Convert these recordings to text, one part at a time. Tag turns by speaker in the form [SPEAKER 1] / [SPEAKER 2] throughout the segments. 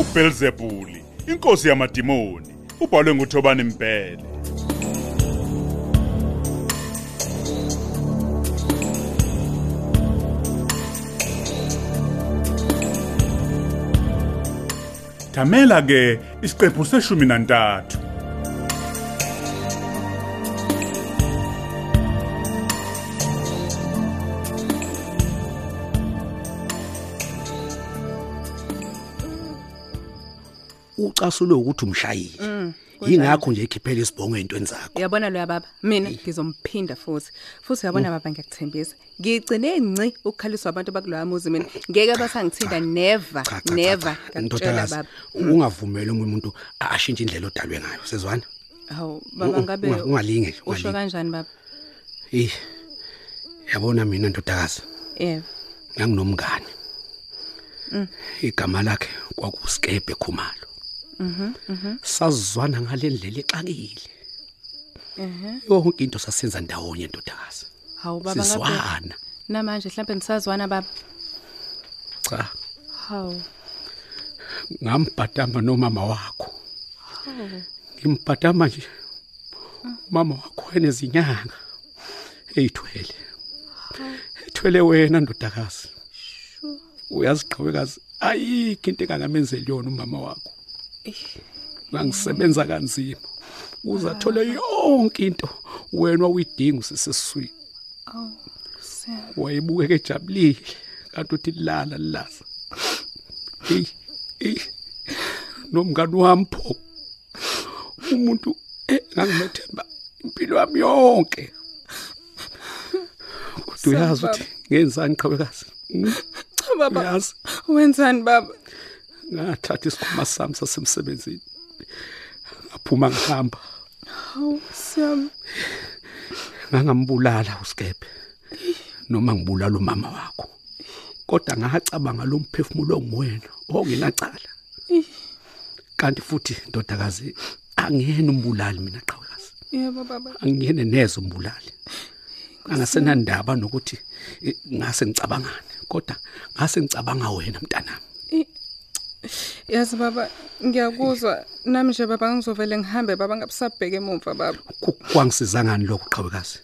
[SPEAKER 1] uBelzebuli, inkosi yamadimoni, ubhalwe nguThobani Mbhele. Thamela ke isiqephu seshumi nantathu.
[SPEAKER 2] ucasulwe ukuthi
[SPEAKER 3] Mm,
[SPEAKER 2] umshayile yingakho nje ekhiphela isibhongo ezintweni zakho
[SPEAKER 3] Uyabona lo baba mina ngizomphinda futhi futhi uyabona
[SPEAKER 2] Mm.
[SPEAKER 3] baba ngiyakuthembisa ngigcine nci ukukhaliswa abantu bakulowa muzi mina ngeke basangithinta never
[SPEAKER 2] Cha, cha, cha,
[SPEAKER 3] never
[SPEAKER 2] cha.
[SPEAKER 3] ngakutshela
[SPEAKER 2] Ndodakazi,
[SPEAKER 3] baba Mm.
[SPEAKER 2] ungavumeli omunye umuntu a- ashintshe indlela odalwe ngayo sezwana
[SPEAKER 3] hawu baba
[SPEAKER 2] Mm, mm,
[SPEAKER 3] ngabe
[SPEAKER 2] unga- ungalinge nje,
[SPEAKER 3] usho
[SPEAKER 2] ungalinge.
[SPEAKER 3] kanjani baba
[SPEAKER 2] eyi yabona mina ndodakazi
[SPEAKER 3] yebo
[SPEAKER 2] nganginomngane
[SPEAKER 3] Mm.
[SPEAKER 2] igama lakhe kwakusikebhe khumalo
[SPEAKER 3] Mhm,
[SPEAKER 2] sazizwana ngale ndlela exakile yonke into sasenza ndawonye ndodakazi
[SPEAKER 3] hawu Mhm. baba ngabe
[SPEAKER 2] sizwana
[SPEAKER 3] namanje mhlawumbe nisazwana baba
[SPEAKER 2] cha
[SPEAKER 3] hawu
[SPEAKER 2] ngambhatama nomama wakho ngimbhatama nje mama wakho enezinyanga eyithwele ethwele wena ndodakazi uyaziqhubekazi ayikho into engangamenzeli yona umama wakho ngangisebenza kanzima uzathole yonke into wena uyidinga usisiswini wayebukeka ejabulile kanti uthi lala lilaza eyi eyi nomngani wami pho umuntu engangimethemba impilo yami yonke kodwa uyazi ukuthi ngenzani qhawekazi
[SPEAKER 3] cha baba
[SPEAKER 2] uyazi
[SPEAKER 3] wenzani baba
[SPEAKER 2] ngathatha isikhuma sami sasemsebenzini ngaphuma ngihamba
[SPEAKER 3] hawu siyami
[SPEAKER 2] ngangambulala usikephe noma ngibulala umama wakho kodwa ngacabanga lo mphefumulo onguwena ongenacala kanti futhi ndodakazi angiyena umbulali mina qhawekazi
[SPEAKER 3] yebo baba
[SPEAKER 2] angiyene neze umbulali angasenandaba nokuthi eh, ngase ngicabangane kodwa ngase ngicabanga wena mntanami
[SPEAKER 3] yazi baba ngiyakuzwa nami nje baba ngizovele ngihambe baba ngabusabheke emuva baba
[SPEAKER 2] Ku- kwangisizangani lokho qhawekazi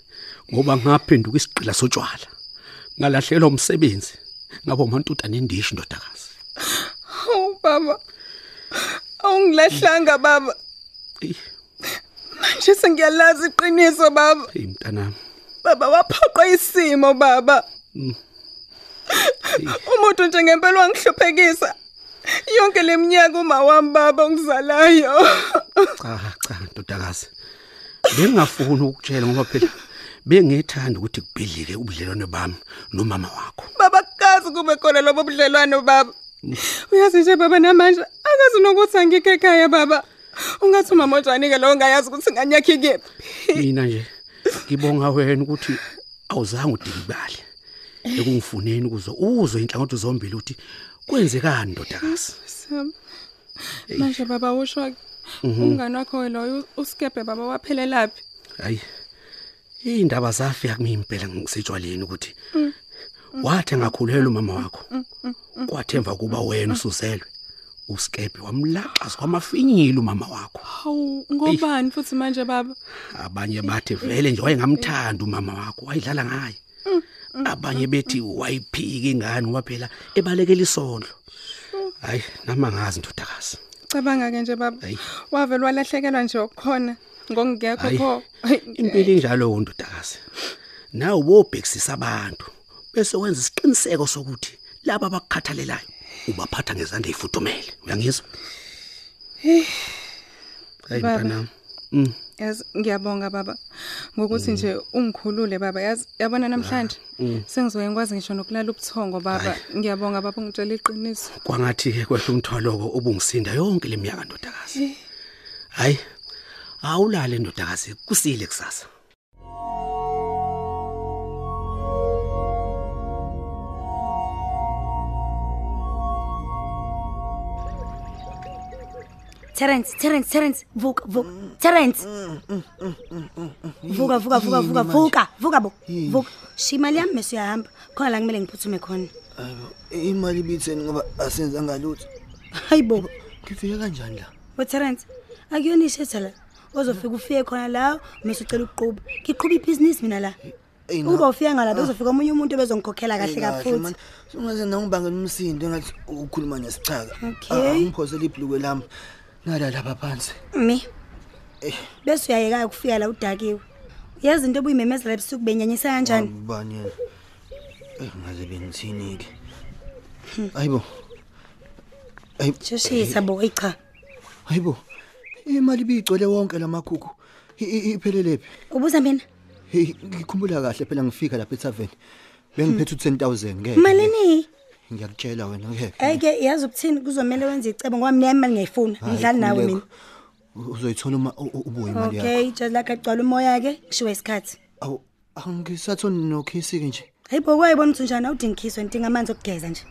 [SPEAKER 2] ngoba ngaphenduka isigqila sotshwala ngalahlekelwa umsebenzi ngabo umantuta nendishi ndodakazi
[SPEAKER 3] Hawu Oh, baba. Awungilahlanga baba.
[SPEAKER 2] eyi
[SPEAKER 3] Manje sengiyalazi iqiniso baba.
[SPEAKER 2] eyi mntanami
[SPEAKER 3] Baba waphoqwa isimo baba. Umuntu njengempela wangihluphekisa. Yonke leminyaka uma wami baba ongizalayo.
[SPEAKER 2] cha cha ndodakazi bengingafuni ukutshela ngoba phela bengethanda ukuthi kubhidlike ubudlelwane bami nomama wakho
[SPEAKER 3] Baba kazi kube khona lobo budlelwano baba. Uyazi nje baba namanje akazi nokuthi angikho ekhaya baba. Ungathi umama njani ke lo ongayazi ukuthi nganyakhi kephi.
[SPEAKER 2] mina nje ngibonga wena ukuthi awuzange udikibale ekungifuneni ukuze uzwe inhlangothi zombili ukuthi kwenzekani ndodakazi
[SPEAKER 3] Sam. Manje baba usho
[SPEAKER 2] Mhm.
[SPEAKER 3] umngane wakho loyo usikebe baba waphelelaphi?
[SPEAKER 2] hayi indaba zafika kimi impela ngisetshwaleni ukuthi wathi angakhulela umama wakho kwathemva kuba wena usuzelwe usikebe wamlaxa kwamafinyile umama wakho
[SPEAKER 3] Hawu ngobani futhi manje baba?
[SPEAKER 2] abanye bathi vele nje wayengamthanda umama wakho wayidlala ngaye abanye bethi wayiphika ingane ngoba phela ebalekela isondlo hayi nama ngazi ndodakazi
[SPEAKER 3] Cabanga ke nje baba.
[SPEAKER 2] Hayi.
[SPEAKER 3] Wavele walahlekelwa nje okukhona ngokungekho
[SPEAKER 2] Hayi.
[SPEAKER 3] pho.
[SPEAKER 2] impilo injalo ndodakazi nawe ubobhekisisa abantu bese wenza isiqiniseko sokuthi laba abakukhathalelayo ubaphatha ngezandla ezifudumele uyangizwa hayi
[SPEAKER 3] Eh, Baba.
[SPEAKER 2] mntanami
[SPEAKER 3] Yazi ngiyabonga baba
[SPEAKER 2] Mhm.
[SPEAKER 3] ngokuthi nje ungikhulule baba yazi yabona namhlanje
[SPEAKER 2] Ah,
[SPEAKER 3] sengizoye ngikwazi ngisho nokulala ubuthongo baba ngiyabonga baba ungitshela iqiniso
[SPEAKER 2] kwangathi ke kwehla umthwaloko obungisinda yonke lemiyaka
[SPEAKER 3] Eh.
[SPEAKER 2] ndodakazi hayi awulale ndodakazi kusile kusasa
[SPEAKER 4] Terence, Terence, Terence, vuka, vuka. Terence. Vuka, vuka, vuka, vuka, vuka, vuka bo. Vuka. Shima liyami bese uyahamba. Khona la
[SPEAKER 5] Eh,
[SPEAKER 4] kumele ngiphuthume khona.
[SPEAKER 5] imali ibitheni ngoba asenzanga lutho
[SPEAKER 4] Hayi bo.
[SPEAKER 5] Ngifike kanjani la?
[SPEAKER 4] Waterance, akuyona ishetha la. Ozofika ufike khona la, mse ucela ukuquba. Ngiqhuba ibhizinisi mina la.
[SPEAKER 5] Eyi, Eh, na- eh,
[SPEAKER 4] Uba ufika ngala bezofika omunye umuntu bezongikhokhela kahle kaphuthu.
[SPEAKER 5] Sungaze nangibangela umsindo engathi ukhuluma nesichaka. Ah,
[SPEAKER 4] Okay.
[SPEAKER 5] Angiphosela ibhlukwe lami. Nala lapha phansi.
[SPEAKER 4] Mi.
[SPEAKER 5] Eh.
[SPEAKER 4] Bese uyayeka ukufika la udakiwe. Uyazi into obuyimemezela ebusuku benyanyisa kanjani?
[SPEAKER 5] Ubani yena? Eh ngaze bengithini ke?
[SPEAKER 4] Hmm.
[SPEAKER 5] Hayibo. Hayibo.
[SPEAKER 4] Shoshisa bo, ayi cha.
[SPEAKER 5] Hayibo. Imali ibigcwele wonke lamakhukhu. Iphelele phi?
[SPEAKER 4] Ubuza mina.
[SPEAKER 5] Hey, ngikhumbula kahle phela ngifika lapha e-tavern. Bengiphethe u10000 ngeke.
[SPEAKER 4] Malini?
[SPEAKER 5] Ngiyakutshela wena ngeke.
[SPEAKER 4] Eke yazi ubuthini kuzomela wenze icebo ngoba mina imali ngiyayifuna.
[SPEAKER 5] Hhayi,
[SPEAKER 4] Ngidlali nawe mina.
[SPEAKER 5] khululeko. U- Uzoyithola uma u- u- ubuye imali yakho.
[SPEAKER 4] Okay, just like agcwala umoya ke, kushiwe isikhathi.
[SPEAKER 5] Awu angisathoni nokhisi ke nje.
[SPEAKER 4] Hayi bo, kwayibona ukuthi njani awudingiswe intinga amanzi okugeza nje.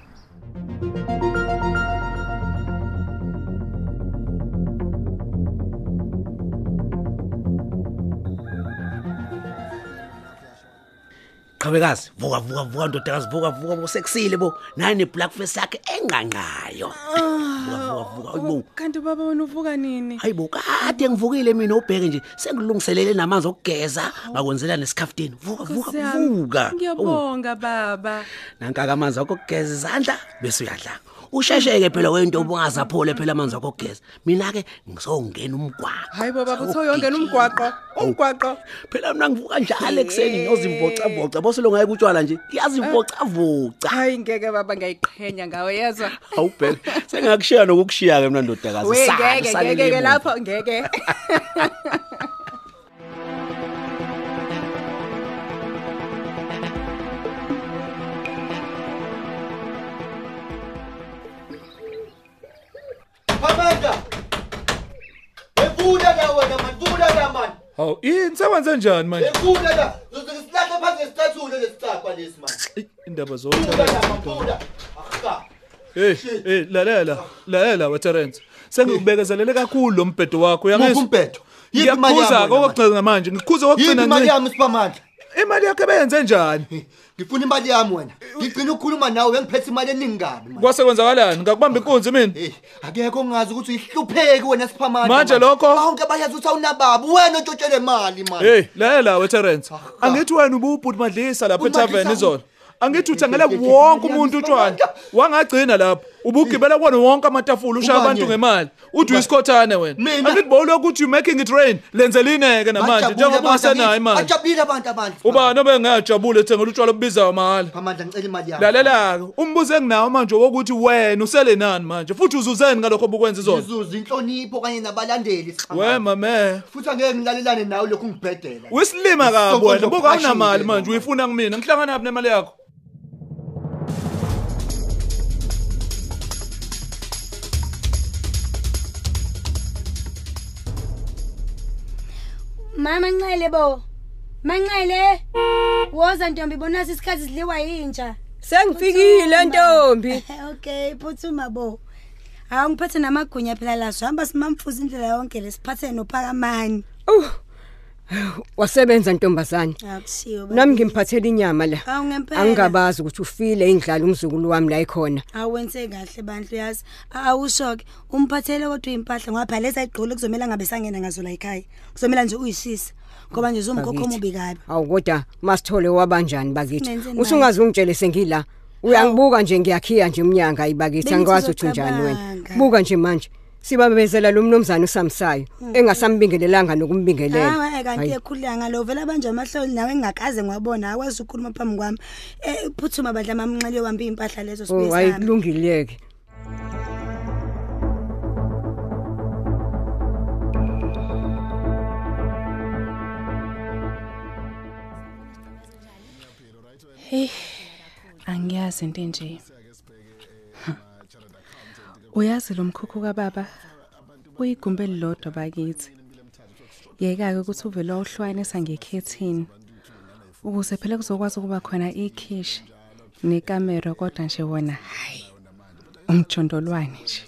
[SPEAKER 2] qhawekazi vuka vuka vuka ndodakazi vuka vuka bo sekusile bo naye neblackface yakhe enqanqayo
[SPEAKER 3] Ah,
[SPEAKER 2] vuka vuka vuka hayi bo
[SPEAKER 3] kanti baba wena uvuka nini
[SPEAKER 2] hayi bo kade ngivukile mina ubheke nje sengilungiselele namanzi okugeza ngakwenzela nesikhafteni vuka vuka
[SPEAKER 3] Nkosi yami,
[SPEAKER 2] vuka Oh,
[SPEAKER 3] ngiyabonga baba
[SPEAKER 2] nankaka amanzi akho okugeza izandla bese uyadla ushesheke phela wento obungazaphole phela amanzi akho okugeza mina-ke ngisongena umgwaqo Oh,
[SPEAKER 3] hayi bo baba uthoyongena umgwaqo umgwaqo
[SPEAKER 2] phela mna ngivuka njalo ekuseni ngiyozivocavoca boselongaye kutshwala nje ngiyazivocavoca
[SPEAKER 3] hayi ngeke baba ngiyayiqhenya ngawe yezwa
[SPEAKER 2] hawu phela sengakushiya nokukushiya-ke mna ndodakazi
[SPEAKER 3] we
[SPEAKER 2] Sali,
[SPEAKER 3] ngeke
[SPEAKER 2] salele
[SPEAKER 3] ngeke-ke
[SPEAKER 2] emuva.
[SPEAKER 3] lapho ngeke
[SPEAKER 6] Amanda! Evula la wena man, vula la man.
[SPEAKER 7] hawu ini sewenze njani manje
[SPEAKER 6] Evula la. Uzokusilahla phansi ngesicathulo lesicaqwa lesi man.
[SPEAKER 7] Eyi, indaba
[SPEAKER 6] Vula la man,
[SPEAKER 7] zotha
[SPEAKER 6] vula. Akha.
[SPEAKER 7] Eh, eh lalela, lalela waTerence. Sengikubekezelele kakhulu lo mbhedo wakho,
[SPEAKER 6] Muku
[SPEAKER 7] uyangizwa?
[SPEAKER 6] umbhedo. Yiphi imali
[SPEAKER 7] Ngiyakhuza
[SPEAKER 6] yami? wena, man?
[SPEAKER 7] kokugcina manje, ngikhuza kokugcina
[SPEAKER 6] Yiphi imali
[SPEAKER 7] nje.
[SPEAKER 6] yami sipamandla?
[SPEAKER 7] Imali yakhe beyenze njani?
[SPEAKER 6] Ngifuna imali yami wena.
[SPEAKER 5] Eh,
[SPEAKER 6] Ngicela ukukhuluma nawe uyangiphethe imali eningi kabi man.
[SPEAKER 7] Kwase kwenzakalani? Ngakubamba inkunzi mina.
[SPEAKER 6] Eh, akekho ongazi ukuthi uyihlupheki wena siphamandla.
[SPEAKER 7] Manje
[SPEAKER 6] man.
[SPEAKER 7] lokho?
[SPEAKER 6] Bonke bayazi ukuthi awunababa. Wena ontshotshele imali man.
[SPEAKER 5] Eh,
[SPEAKER 7] Hey, lalela waTerence.
[SPEAKER 6] Ah, ah.
[SPEAKER 7] Angithi wena ububhuti madlisa lapha
[SPEAKER 6] Ubudmadlisa
[SPEAKER 7] eTavern
[SPEAKER 6] u-
[SPEAKER 7] izolo. Angithi uthengele
[SPEAKER 6] Eh, eh, eh, imali
[SPEAKER 7] wonke
[SPEAKER 6] yami
[SPEAKER 7] umuntu utshwala.
[SPEAKER 6] sibamandla.
[SPEAKER 7] Wangagcina lapha. Ubugibela kwona wonke amatafula ushaya
[SPEAKER 6] Ubani
[SPEAKER 7] abantu
[SPEAKER 6] yena?
[SPEAKER 7] ngemali. Uthi
[SPEAKER 6] Ubani?
[SPEAKER 7] uyisikhothane wena.
[SPEAKER 6] Mina?
[SPEAKER 7] Angithi bolo ukuthi you making it rain. Lenzelineke namanje
[SPEAKER 6] Bajabule
[SPEAKER 7] njengoba
[SPEAKER 6] abantu
[SPEAKER 7] ungasenayo
[SPEAKER 6] bakithi.
[SPEAKER 7] imali.
[SPEAKER 6] Bajabulile abantu abantu.
[SPEAKER 7] Ubani obengajabule ethengela utshwala obubizayo mahhala.
[SPEAKER 6] Phamandla ngicela imali yami.
[SPEAKER 7] Lalela-ke, umbuzo enginawo manje wokuthi wena usele nani manje futhi uzuzeni ngalokho obukwenza izona.
[SPEAKER 6] Izuzu inhlonipho kanye nabalandeli
[SPEAKER 7] We
[SPEAKER 6] siphamandla.
[SPEAKER 7] mame,
[SPEAKER 6] futhi angeke ngilalelane nawe lokhu ngibhedela
[SPEAKER 7] usilima kabi wena,
[SPEAKER 6] Isokondlo
[SPEAKER 7] buka unamali
[SPEAKER 6] phashile,
[SPEAKER 7] manje
[SPEAKER 6] mama.
[SPEAKER 7] uyifuna kumina. Ngihlangana naphi nemali yakho?
[SPEAKER 4] Mama Nxele bo. Manxele. Woza ntombi bonasi isikhathi sidliwa yintsha.
[SPEAKER 8] Sengifikile ntombi.
[SPEAKER 4] Okay, phuthuma bo. Hawu ngiphathe namagunya phela la sihamba simamfuza indlela yonke lesiphathe nophakamani.
[SPEAKER 8] Wasebenza ntombazane.
[SPEAKER 4] Akushiyo baba.
[SPEAKER 8] Nami ngimphathela inyama la.
[SPEAKER 4] Hawu ngempela.
[SPEAKER 8] Angingabazi ukuthi ufile indlala umzukulu wami la ikhona.
[SPEAKER 4] Awenze kahle bantu yazi. Awushoke umphathele kodwa impahla ngapha leza igqolo kuzomela ngabe sangena ngazo la ekhaya. Kuzomela nje uyishisa ngoba nje uzomkhokho mubi kabi.
[SPEAKER 8] Hawu kodwa masithole wabanjani bakithi.
[SPEAKER 4] Nenzeni
[SPEAKER 8] Usungaze ungitshele sengila. Uyangibuka nje ngiyakhiya nje umnyanga ayibakithi
[SPEAKER 4] Bengithi
[SPEAKER 8] angikwazi ukuthi unjani wena.
[SPEAKER 4] uzocabanga.
[SPEAKER 8] Buka nje manje. Sibabezela lo mnumzane uSamsayo engasambingelelanga nokumbingelela.
[SPEAKER 4] Hmm.
[SPEAKER 8] Oh,
[SPEAKER 4] Hayi eh, kanti
[SPEAKER 8] Hhayi,
[SPEAKER 4] ekhulanga lo vela banje amahloli nawe engakaze ngwabona akwazi ukukhuluma phambi kwami. Eh phuthuma badla mamnxele wambi impahla lezo
[SPEAKER 8] Oh hayi
[SPEAKER 4] sibuyisana.
[SPEAKER 8] kulungileke.
[SPEAKER 3] angiyazi into enje uyazi lo mkhukhu kababa uyigumbe elilodwa bakithi yeka-ke ukuthi uvele wawuhlwanisa ngekhethini ukuze phela kuzokwazi ukuba khona ikhishi nekamero kodwa nje wona hhayi umjondolwane nje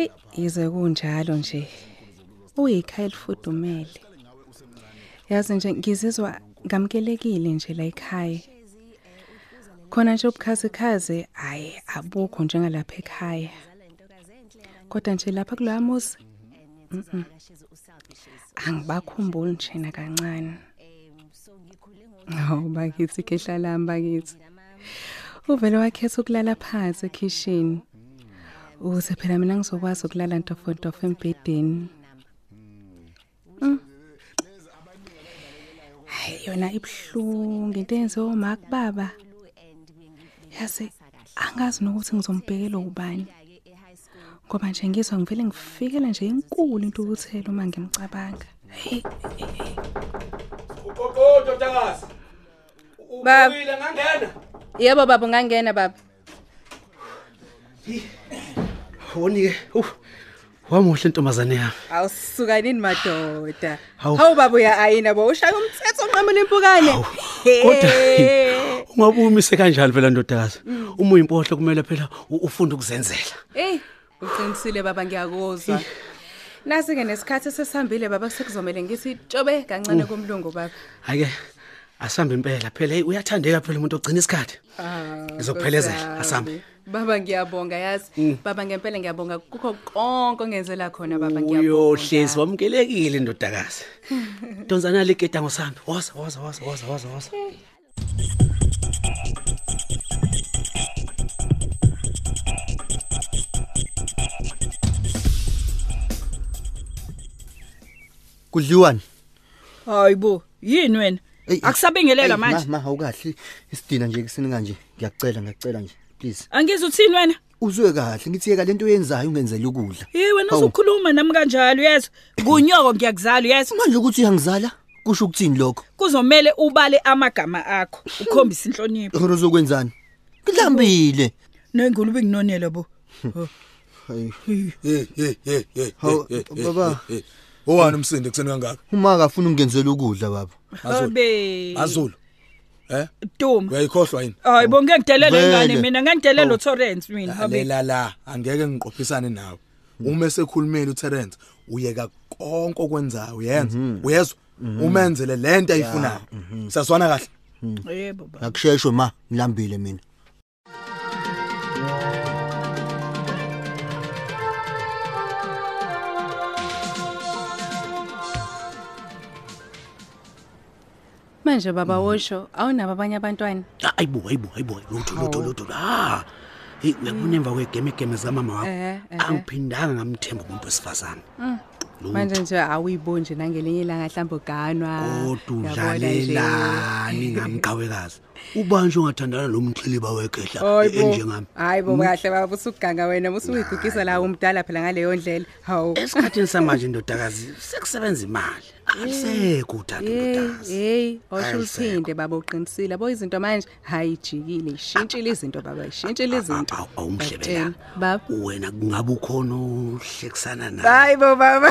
[SPEAKER 3] Eyi, yize kunjalo nje uyikhaya elifudumele yazi nje ngizizwa ngamukelekile nje la ekhaya khona nje ubukhazikhazi hayi abukho njengalapha ekhaya kodwa nje lapha kuloya muzi mhm. angibakhumbuli njena kancane hawu bakithi ikhehla lami bakithi uvele wakhetha ukulala phansi ekhishini ukuze phela mina ngizokwazi ukulala ntofontofo embhedeni Mm. Hhayi, yona ibuhlungu into eyenziwe umak baba yazi angazi nokuthi ngizombhekela ubani ngoba nje ngizwa ngivele ngifikela nje inkulu intukuthelo uma ngimcabanga heyi
[SPEAKER 7] udodakazi
[SPEAKER 3] Baba.
[SPEAKER 7] ngangena
[SPEAKER 3] yebo baba ungangena baba
[SPEAKER 2] wonike wamuhle intombazane yami
[SPEAKER 3] awusuka nini madoda
[SPEAKER 2] Hawu.
[SPEAKER 3] hawu baba uya ayina bo ushaya umthetho onqamela impukane
[SPEAKER 2] kodwa
[SPEAKER 3] Eh.
[SPEAKER 2] ungabumise kanjalo phela ndodakazi
[SPEAKER 3] Mm.
[SPEAKER 2] uma uyimpohlo kumele phela u- ufunde ukuzenzela
[SPEAKER 3] eyi uqinisile baba ngiyakuzwa nasi-ke nesikhathi sesihambile baba sekuzomele ngithi tshobe
[SPEAKER 2] Oh.
[SPEAKER 3] kancane kumlungu baba
[SPEAKER 2] hake asihambe impela phela hey uyathandeka phela umuntu ogcina isikhathi
[SPEAKER 3] Ah,
[SPEAKER 2] Ngizokuphelezela,
[SPEAKER 3] Nkosi yami.
[SPEAKER 2] asihambe.
[SPEAKER 3] baba ngiyabonga yazi baba ngempela ngiyabonga kukho konke ongenzela khona baba
[SPEAKER 2] uyohlezi wamukelekile ndodakazi donzana ligeda ngosambe woza woza woza woza woza woza
[SPEAKER 5] kudliwani
[SPEAKER 9] hayi bo yini wena
[SPEAKER 5] Eyi,
[SPEAKER 9] akusabingelela
[SPEAKER 5] eyi,
[SPEAKER 9] manje
[SPEAKER 5] ma ma, awukahle isidina nje ekuseni kanje ngiyakucela ngiyakucela nje please
[SPEAKER 9] angizi uthini wena
[SPEAKER 5] uzwe kahle ngithi yeka lento oyenzayo ungenzela ukudla
[SPEAKER 9] yi wena
[SPEAKER 5] Hawu.
[SPEAKER 9] usukhuluma nami kanjalo yezwa ngunyoko ngiyakuzala yezwa
[SPEAKER 5] manje ukuthi uyangizala kusho ukuthini lokho
[SPEAKER 9] kuzomele ubale amagama akho ukhombise inhlonipho
[SPEAKER 5] ngero zokwenzani ngidlambile
[SPEAKER 9] nengulube nginonela bo
[SPEAKER 5] hayi
[SPEAKER 10] Hey hey hey hey.
[SPEAKER 5] hawu baba
[SPEAKER 10] Owani umsinde kuseni kangaka?
[SPEAKER 5] uma akafuna ukungenzela ukudla baba
[SPEAKER 9] azobe
[SPEAKER 10] Azulu. Eh?
[SPEAKER 9] duma
[SPEAKER 10] Uyayikhohlwa yini?
[SPEAKER 9] hayi bo ngeke ngidelele
[SPEAKER 5] Vele.
[SPEAKER 9] ingane mina ngeke ngidelele uTorrence mina habe
[SPEAKER 10] Lalela la angeke ngiqophisane nawe. Uma esekhulumela uTerence uyeka konke okwenzayo uyenza. Uyezwa? Umenzele lento ayifunayo. Saswana kahle.
[SPEAKER 9] yebo baba
[SPEAKER 5] akusheshwe ma ngilambile mina
[SPEAKER 3] manje baba wosho awunabo abanye abantwana
[SPEAKER 2] ayibo ayibo ayibo lutho lutho lutho ha hey uyabona emva kwegemegeme zikamama
[SPEAKER 3] Ehhe,
[SPEAKER 2] wakho
[SPEAKER 3] ehhe.
[SPEAKER 2] angiphindanga ngamthemba umuntu wesifazane
[SPEAKER 3] Mm. manje nje awuyibonje nangelinye ilanga hlambe uganwa
[SPEAKER 2] Oh, kodwa
[SPEAKER 3] Uyabona Ah, nje.
[SPEAKER 2] udlalelani ngamqhawekazi ubanje ongathandana lo mxhiliba wekhehla
[SPEAKER 3] Hayi bo.
[SPEAKER 2] enjengami Hmm?
[SPEAKER 3] hayi
[SPEAKER 2] Mm.
[SPEAKER 3] bo kahle baba usuganga wena usuyigugisa la umdala phela ngaleyo ndlela hawu
[SPEAKER 2] esikhathini samanje ndodakazi sekusebenza imali
[SPEAKER 3] Eh,
[SPEAKER 2] alisekho uthando ndodakazi
[SPEAKER 3] heyi osho
[SPEAKER 2] Hayi, sekho.
[SPEAKER 3] uthinde baba uqinisile yabo izinto manje hhayi ijikile ishintshile izinto baba ishintshile izinto
[SPEAKER 2] Aw- awumhle
[SPEAKER 3] Ngiyakutshela.
[SPEAKER 2] bela
[SPEAKER 3] baba
[SPEAKER 2] wena kungabe ukhona uhlekisana naye
[SPEAKER 3] hayi bo baba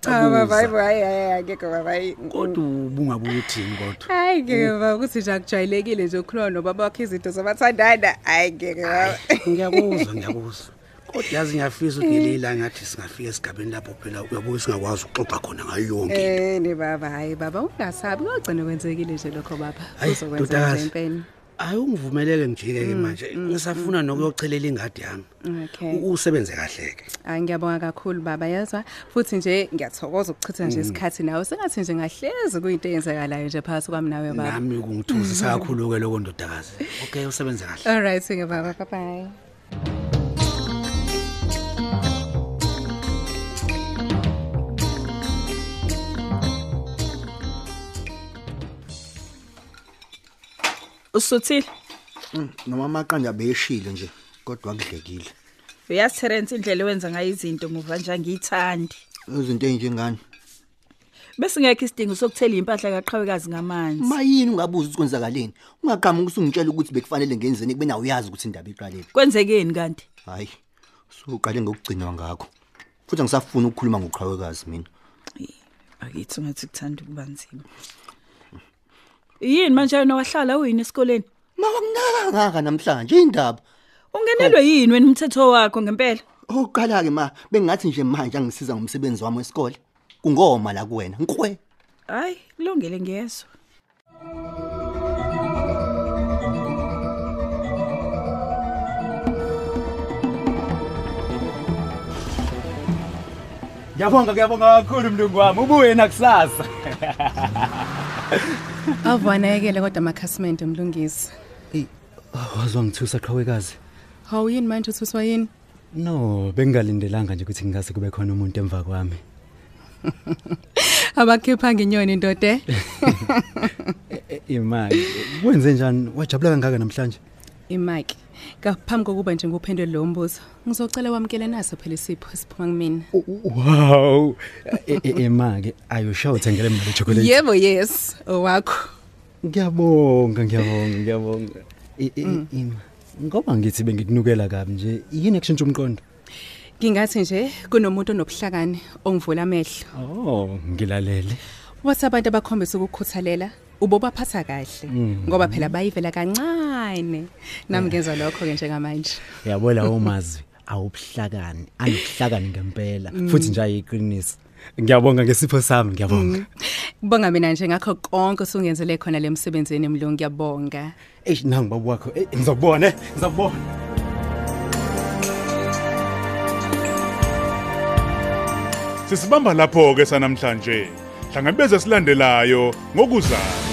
[SPEAKER 3] cha baba hayi bo hayi hayi angekho baba hayi
[SPEAKER 2] kodwa ubungabe uthini kodwa
[SPEAKER 3] hayi ngeke
[SPEAKER 2] Mm.
[SPEAKER 3] baba ukuthi nje akujwayelekile nje ukhuluma nobaba wakho izinto zabathandana hayi ngeke baba
[SPEAKER 2] Eh, ngiyakuzwa ngiyakuzwa kodwa yazi ngiyafisa ukugelela ngathi singafika esigabeni lapho phela uyabuye singakwazi ukuxoxa khona ngayo yonke into.
[SPEAKER 3] Eh ne baba hayi baba ungasabi kuyogcina kwenzekile nje lokho baba
[SPEAKER 2] Hhayi,
[SPEAKER 3] uzokwenza
[SPEAKER 2] Dodakazi.
[SPEAKER 3] nje impela
[SPEAKER 2] hayi ungivumeleke ngijike-ke manje ngisafuna nokuyochelela ingadi yami
[SPEAKER 3] Okay.
[SPEAKER 2] U- usebenze kahle-ke
[SPEAKER 3] hayi ngiyabonga kakhulu baba yezwa futhi nje ngiyathokoza ukuchitha
[SPEAKER 2] Mm.
[SPEAKER 3] nje isikhathi nawe sengathi nje ngahlezi kuyinto eyenzekalayo nje phakathi kwami nawe baba
[SPEAKER 2] nami kungithuzisa kakhulu-ke loko ndodakazi okay usebenze kahle
[SPEAKER 3] all right ke baba bye bye
[SPEAKER 9] usuthile
[SPEAKER 5] noma amaqanda beyeshile nje kodwa kudlekile
[SPEAKER 9] uyazi Terrence indlela wenza ngayo izinto ngoba nje angiyithandi
[SPEAKER 5] izinto ezinjengani
[SPEAKER 9] bese ngeke isidingo sokuthela impahla kaqhawekazi ngamanzi
[SPEAKER 5] mayini ungabuza ukuthi kwenzakaleni ungaqhamuki usungitshela ukuthi bekufanele ngenzeni kube nawe uyazi ukuthi indaba iqalile
[SPEAKER 9] kwenzekeni kanti
[SPEAKER 5] hayi suqale ngokugcinwa ngakho futhi angisafuni ukukhuluma ngoqhawekazi mina
[SPEAKER 9] akithi ngathi kuthanda ukuba nzima yini manje wena wahlala uyini esikoleni
[SPEAKER 5] mawakunakangaka namhlanje indaba
[SPEAKER 9] ungenelwe yini wena umthetho wakho ngempela
[SPEAKER 5] oqala-ke ma bengathi nje manje angisiza ngomsebenzi wami wesikole kungoma la kuwena nkwe
[SPEAKER 9] hayi kulungile ngiyezwa
[SPEAKER 11] Ngiyabonga ngiyabonga kakhulu mlungu wami. Ubuye nakusasa.
[SPEAKER 3] Avanekele kodwa amakhasimende mlungisi.
[SPEAKER 2] Wazwa ngithusa qhawekazi.
[SPEAKER 3] Hawu yini manje uthuswa yini?
[SPEAKER 2] No, bengalindelanga nje ukuthi ngingase kube khona umuntu emva kwami.
[SPEAKER 3] Abakhipha ngenyoni ndoda. eh?
[SPEAKER 11] E,
[SPEAKER 2] Imali, kwenze njani? Wajabula kangaka namhlanje?
[SPEAKER 3] iMike kaphambi kokuba nje nguphendule lo mbuzo ngizocela wamkele naso phela isipho esiphuma kumina
[SPEAKER 2] Wow. E, Emake ayoshawa uthengele mina le chocolate.
[SPEAKER 3] yebo yes owakho
[SPEAKER 2] Ngiyabonga, ngiyabonga, ngiyabonga. I- i-
[SPEAKER 3] Mm.
[SPEAKER 2] Ima. Ngoba ngithi bengikunukela kabi nje, yini ekushintsha umqondo?
[SPEAKER 3] ngingathi nje kunomuntu onobuhlakani ongivula amehlo
[SPEAKER 2] Oh, ngilalele.
[SPEAKER 3] wathi abantu abakhombisa ukukukhuthalela ubobaphatha kahle
[SPEAKER 2] Mm.
[SPEAKER 3] ngoba phela bayivela kancane nami ngenza lokho-ke njengamanje
[SPEAKER 2] Yabo lawo mazwi awubuhlakani, ayibuhlakani ngempela,
[SPEAKER 3] Mm.
[SPEAKER 2] futhi nje ayiqiniso. Ngiyabonga ngesipho sami, ngiyabonga.
[SPEAKER 3] Mm. kubonga mina nje ngakho konke osungenzele khona le msebenzini mlungu ngiyabonga
[SPEAKER 2] eish nangu baba wakho Eh, ngizokubona eh, ngizokubona
[SPEAKER 1] Sisibamba lapho ke sanamhlanje. Hlangabeze silandelayo ngokuzayo.